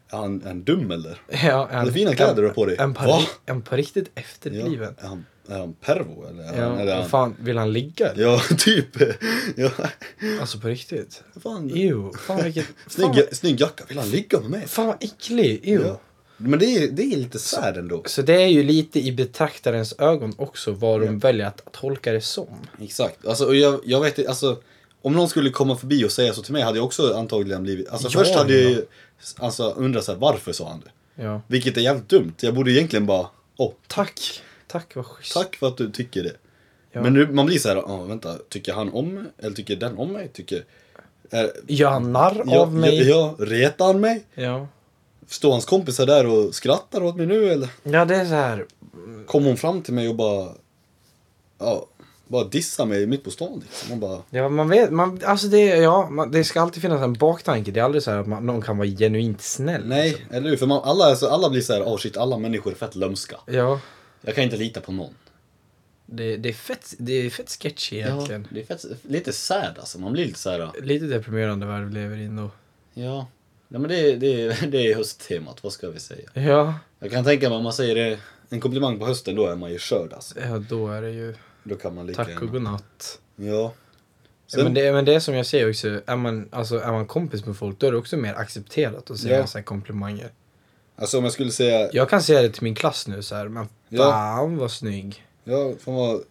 är han, är han dum eller? Ja, Vad fina kläder du har på dig. En, Va? på ri- en på riktigt Ja, efterbliven. är, han, är han pervo eller? Är Ja, han, eller är vad han, fan, vill han ligga? ja, typ. Ja, Alltså på riktigt. fan. Ew, fan vilket... fan, Snygg, snygg jacka, vill han ligga med mig? fan vad äcklig, ew. Ja. Men det är, det är lite sad ändå. Så det är ju lite i betraktarens ögon också vad de väljer att tolka det som. Exakt. Alltså, och jag, jag vet inte, alltså, om någon skulle komma förbi och säga så till mig hade jag också antagligen blivit... Alltså Ja, först hade jag ja. ju alltså, undrat så här, varför sa han det? Ja. Vilket är jävligt dumt. Jag borde egentligen bara, åh, Tack. Tack, vad schysst. tack för att du tycker det. Ja. Men nu, man blir så här, ja vänta, tycker han om mig? Eller tycker den om mig? Tycker... Är, Gör han narr jag, av mig? Jag, jag, retar han mig? Ja. Står hans kompisar där och skrattar åt mig nu eller? ja, det är så här. kom hon fram till mig och bara... Ja, bara dissa mig mitt på stan liksom. Hon bara... Ja, man vet, man, alltså det, är- ja, man, det ska alltid finnas en baktanke. Det är aldrig så här att man, någon kan vara genuint snäll. liksom. Nej, eller hur? För man, alla, alltså, alla blir så här, oh shit, alla människor är fett lömska. Ja, Jag kan inte lita på någon. det, det, är fett, det är fett sketchy egentligen. det är fett, lite sad alltså. Man blir lite så här... Lite deprimerande värld vi lever i ändå. Ja. Nej men det, det, det är hösttemat, vad ska vi säga? Ja, Jag kan tänka mig om man säger det, en komplimang på hösten, då är man ju körd alltså. ja, då är det ju Då kan man lika tack och godnatt. Ja. Ja, men, Sen, det, men det är som jag säger också, är man, alltså, är man kompis med folk då är det också mer accepterat att säga Ja. så här komplimanger. alltså om jag skulle säga, Jag kan säga det till min klass nu så här, men Ja. fan vad snygg. Mm. ja, fan vad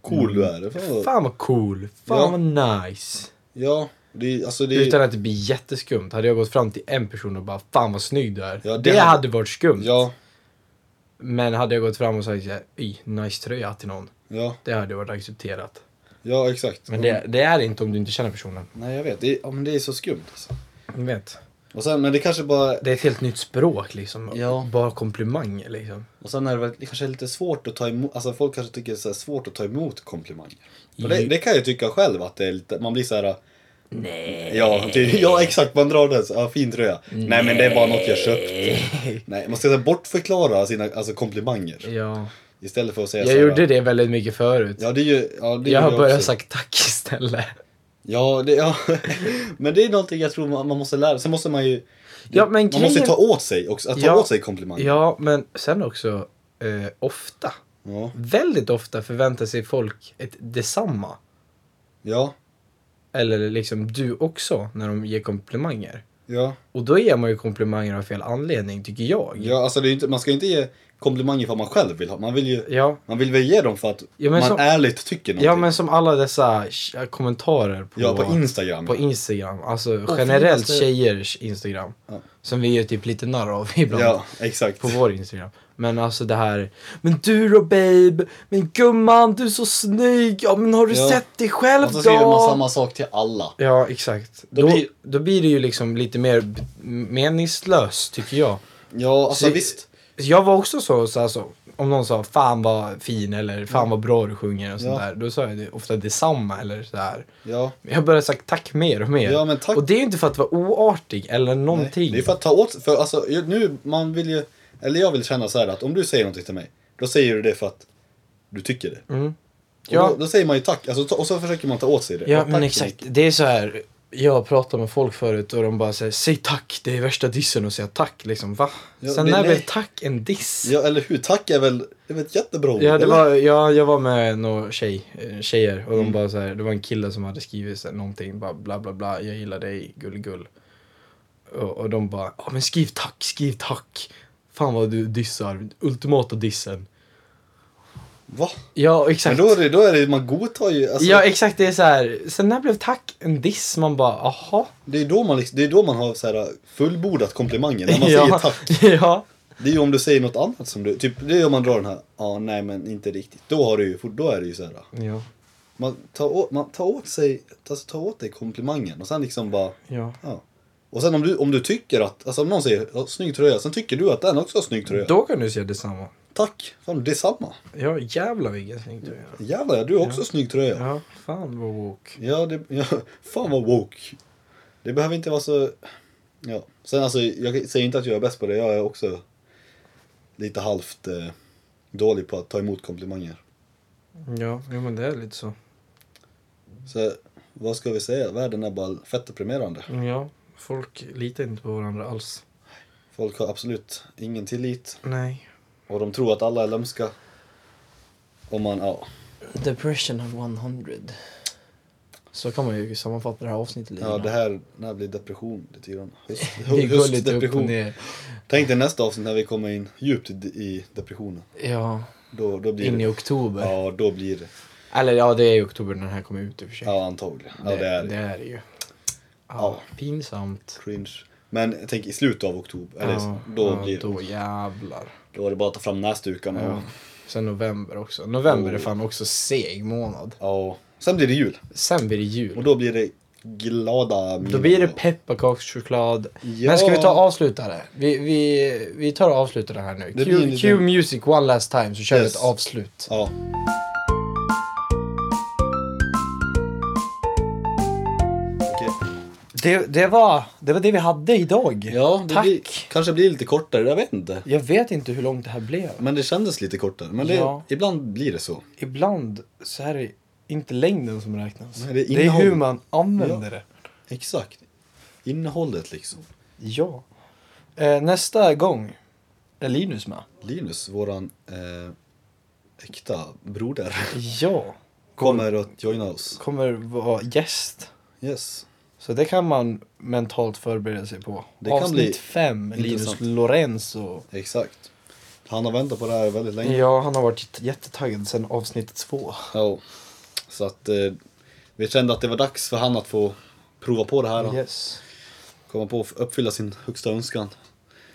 cool du är. Fan vad, Fan vad cool, fan Ja. vad nice. ja, det, alltså det... Utan att det blir jätteskumt. Hade jag gått fram till en person och bara fan vad snygg du är. Ja, det det hade- hade varit skumt. Ja, Men hade jag gått fram och sagt så här, "Oj, nice tröja till någon. ja, Det hade varit accepterat. ja exakt. Men det, det är det inte om du inte känner personen. Nej jag vet, det är, ja, men det är så skumt alltså. Ni vet. Och sen, men det kanske bara, Det är ett helt nytt språk liksom. Ja. Bara komplimanger liksom. och sen är det väl det kanske är lite svårt att ta emot, alltså folk kanske tycker det är så här svårt att ta emot komplimanger. Och det, Jo. det kan jag tycka själv att det är lite, man blir så här. Nej. ja, det, ja exakt man drar den, så, ja, fin tröja. Nej. men det är bara något jag köpt. Nej, man ska så här, bortförklara sina alltså, komplimanger. Ja. Istället för att säga Jag så här, gjorde det väldigt mycket förut. Ja det är ju, ja, det jag gjorde har börjat också. sagt tack istället. Ja, det, ja. men det är någonting jag tror man, man måste lära sig. Sen måste man ju, Ja, men man måste grejen- ju ta åt sig också, att ta Ja. åt sig komplimanger. Ja, men sen också eh, ofta. Ja. Väldigt ofta förväntar sig folk ett detsamma. Ja. Eller liksom du också när de ger komplimanger. Ja. Och då ger man ju komplimanger av fel anledning, tycker jag. Ja, alltså det är ju inte, man ska ju inte ge komplimanger för att man själv vill ha. Man vill ju Ja, man vill väl ge dem för att Ja, men man som- ärligt tycker någonting. ja men som alla dessa sh- kommentarer på, ja på Instagram. på Instagram. Alltså generellt finaste- tjejers Instagram. Ja. Som vi gör typ lite narr av ibland. Ja, exakt. På vår Instagram. Men alltså det här, men du då babe, men gumman du är så snygg, ja men har du Ja. sett dig själv Och så då? skriver man samma sak till alla. Ja, exakt. Då, Då då, blir... blir- det ju liksom lite mer b- meningslöst, tycker jag. Ja, alltså Så- visst. Jag var också så, så alltså, om någon sa fan vad fin eller fan vad bra du sjunger och sånt Ja. där. Då sa jag det, ofta detsamma eller sådär. Ja. Men Jag började säga tack mer och mer. Ja, men tack. Och det är ju inte för att vara oartig eller Nej, någonting. Det är för att ta åt för alltså ju- nu, man vill ju, eller jag vill känna så här att om du säger någonting till mig, då säger du det för att du tycker det. Mm. Ja. Ja. Och då, då säger man ju tack, alltså, ta, och så försöker man ta åt sig det. Ja, tack men så exakt. mycket. Det är så här. Jag pratar med folk förut och de bara säger säg tack, det är värsta dissen att säga tack liksom. Va? Ja, Sen det- när nej. blev tack en diss? Ja, eller hur? Tack är väl, det är väl ett jättebra ord? Ja, det eller? var, ja, jag var med några tjej, eh, tjejer och de Mm. bara så här, det var en kille som hade skrivit så här, någonting, bara bla bla bla, jag gillar dig, gull-gull. Och, och de bara, ja men skriv tack, skriv tack. Fan vad du dissar, ultimata dissen. Va? Ja, exakt. Men då är det, då är det man godtar ju, alltså, Ja, exakt. Det är så här. Sen när blev tack en diss? Man bara, aha. det, är då man, liksom- det är då man har så här fullbordat komplimangen, när man säger ja. tack. Ja. Det är ju om du säger något annat som du, typ det är om man drar den här, ja ah, nej men inte riktigt. Då har du ju, då är det ju så här. äh, Ja. Man tar, å, man tar åt sig, alltså ta åt dig komplimangen och sen liksom bara, ja. ja. Och sen om du, om du tycker att, alltså om någon säger ja, snygg tröja, sen tycker du att den också har snygg tröja. Då kan du säga detsamma. Tack! Fan detsamma! Ja, jävlar vilken snygg tröja. Jävlar ja, du har också Ja. snygg tröja. Ja, fan vad woke. Ja, det, ja, fan vad woke. Det behöver inte vara så... Ja. Sen alltså, jag säger inte att jag är bäst på det. Jag är också lite halvt eh, dålig på att ta emot komplimanger. Ja, jo, men det är lite så. Så vad ska vi säga? Världen är bara fett deprimerande. Ja, folk litar inte på varandra alls. Folk har absolut ingen tillit Nej. och de tror att alla är lömska. Om man, ja. Depression of 100. Så kan man ju sammanfatta det här avsnittet lite. ja det, här, det här blir depression lite grann. Höst, det går lite upp och höstdepression. ner. Tänk dig nästa avsnitt när vi kommer in djupt i, i depressionen. Ja, Då, då blir in i det, oktober. Ja, då blir det. Eller ja, det är i oktober när den här kommer ut i och för sig. Ja, antagligen. Ja, det är det. det är det ju. Ja, Ja. pinsamt. Cringe. Men jag tänker i slutet av oktober, eller ja, då ja, blir då jävlar. då är det bara att ta fram näsdukarna och, Ja. Sen november också. November är Oh. fan också seg månad. ja. Sen blir det jul Sen blir det och jul. då blir det glada Då miner. blir det pepparkakschoklad. Ja. Men ska vi ta och avsluta det? Vi, vi, vi tar och avslutar det här nu. Cue Det blir en liten- Cue music one last time så kör vi Yes. ett avslut. Ja. Okej. Det, det, var, det var det vi hade idag. Ja, det Tack. Blir, kanske blir lite kortare, jag vet inte. Jag vet inte hur långt det här blev. Men det kändes lite kortare. Men det, Ja. ibland blir det så. Ibland så här är inte längden som räknas. Nej, det, det är är hur innehåll. man använder Ja. det. Exakt. Innehållet liksom. Ja. Eh, nästa gång är Linus med. Linus, våran eh, äkta broder, Ja. kommer att joina oss. Kommer vara gäst. Yes. Så det kan man mentalt förbereda sig på. Det kan bli Avsnitt 5, Linus intressant. Lorenzo. Exakt. Han har väntat på det här väldigt länge. Ja, han har varit jättetaggad sedan avsnitt 2. Ja. Så att eh, vi kände att det var dags för han att få prova på det här. då. Yes. Komma på och uppfylla sin högsta önskan.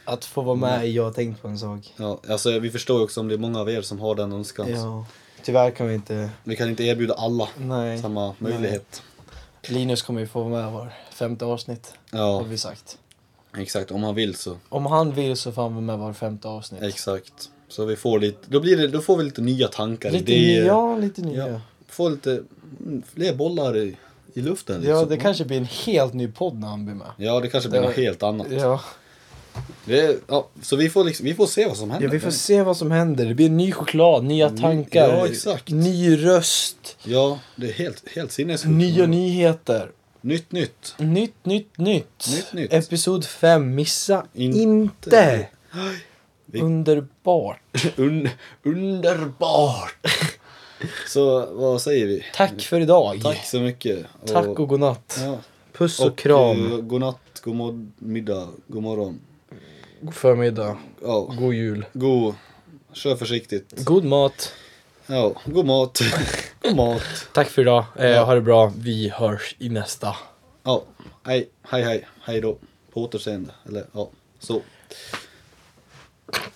Att få vara med i Jag har tänkt på en sak. Ja, alltså vi förstår ju också om det är många av er som har den önskan. Ja. Tyvärr kan vi inte... Vi kan inte erbjuda alla Nej. samma möjlighet. Linus kommer ju få vara med var femte avsnitt. Har Ja, vi sagt. exakt. Om han vill så. Om han vill så får han vara med var femte avsnitt. Exakt. Så vi får lite, då, blir det, då får vi lite nya tankar, Lite idéer. nya, ja, lite nya. Ja. Ja, Får lite mm, fler bollar i, i luften. liksom. det kanske blir en helt ny podd när han blir med. Ja, det kanske blir Ja. något helt annat. Ja. Det är, ja, så vi får, liksom, vi får se vad som händer. ja, vi får se vad som händer. Det blir ny choklad, nya tankar, ja, exakt. ny röst, Ja, det är helt, helt sinnessjukt. nya nyheter. Nytt, nytt. Nytt, nytt, nytt. Nytt, nytt. Episod 5, missa Inte. inte. Vi- Underbart. Un, underbart! Så vad säger vi? Tack för idag. Tack så mycket. Tack och godnatt. ja. Puss och, kram. eh, God natt, god mod, middag, god morgon. God förmiddag. Ja, God jul. god... Kör försiktigt. God mat. Ja, god mat. god mat. Tack för idag. Eh, Ja. Ha det bra. Vi hörs i nästa. Ja, hej, hej, hej, hej då. På återseende. Eller ja, så.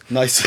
Nice.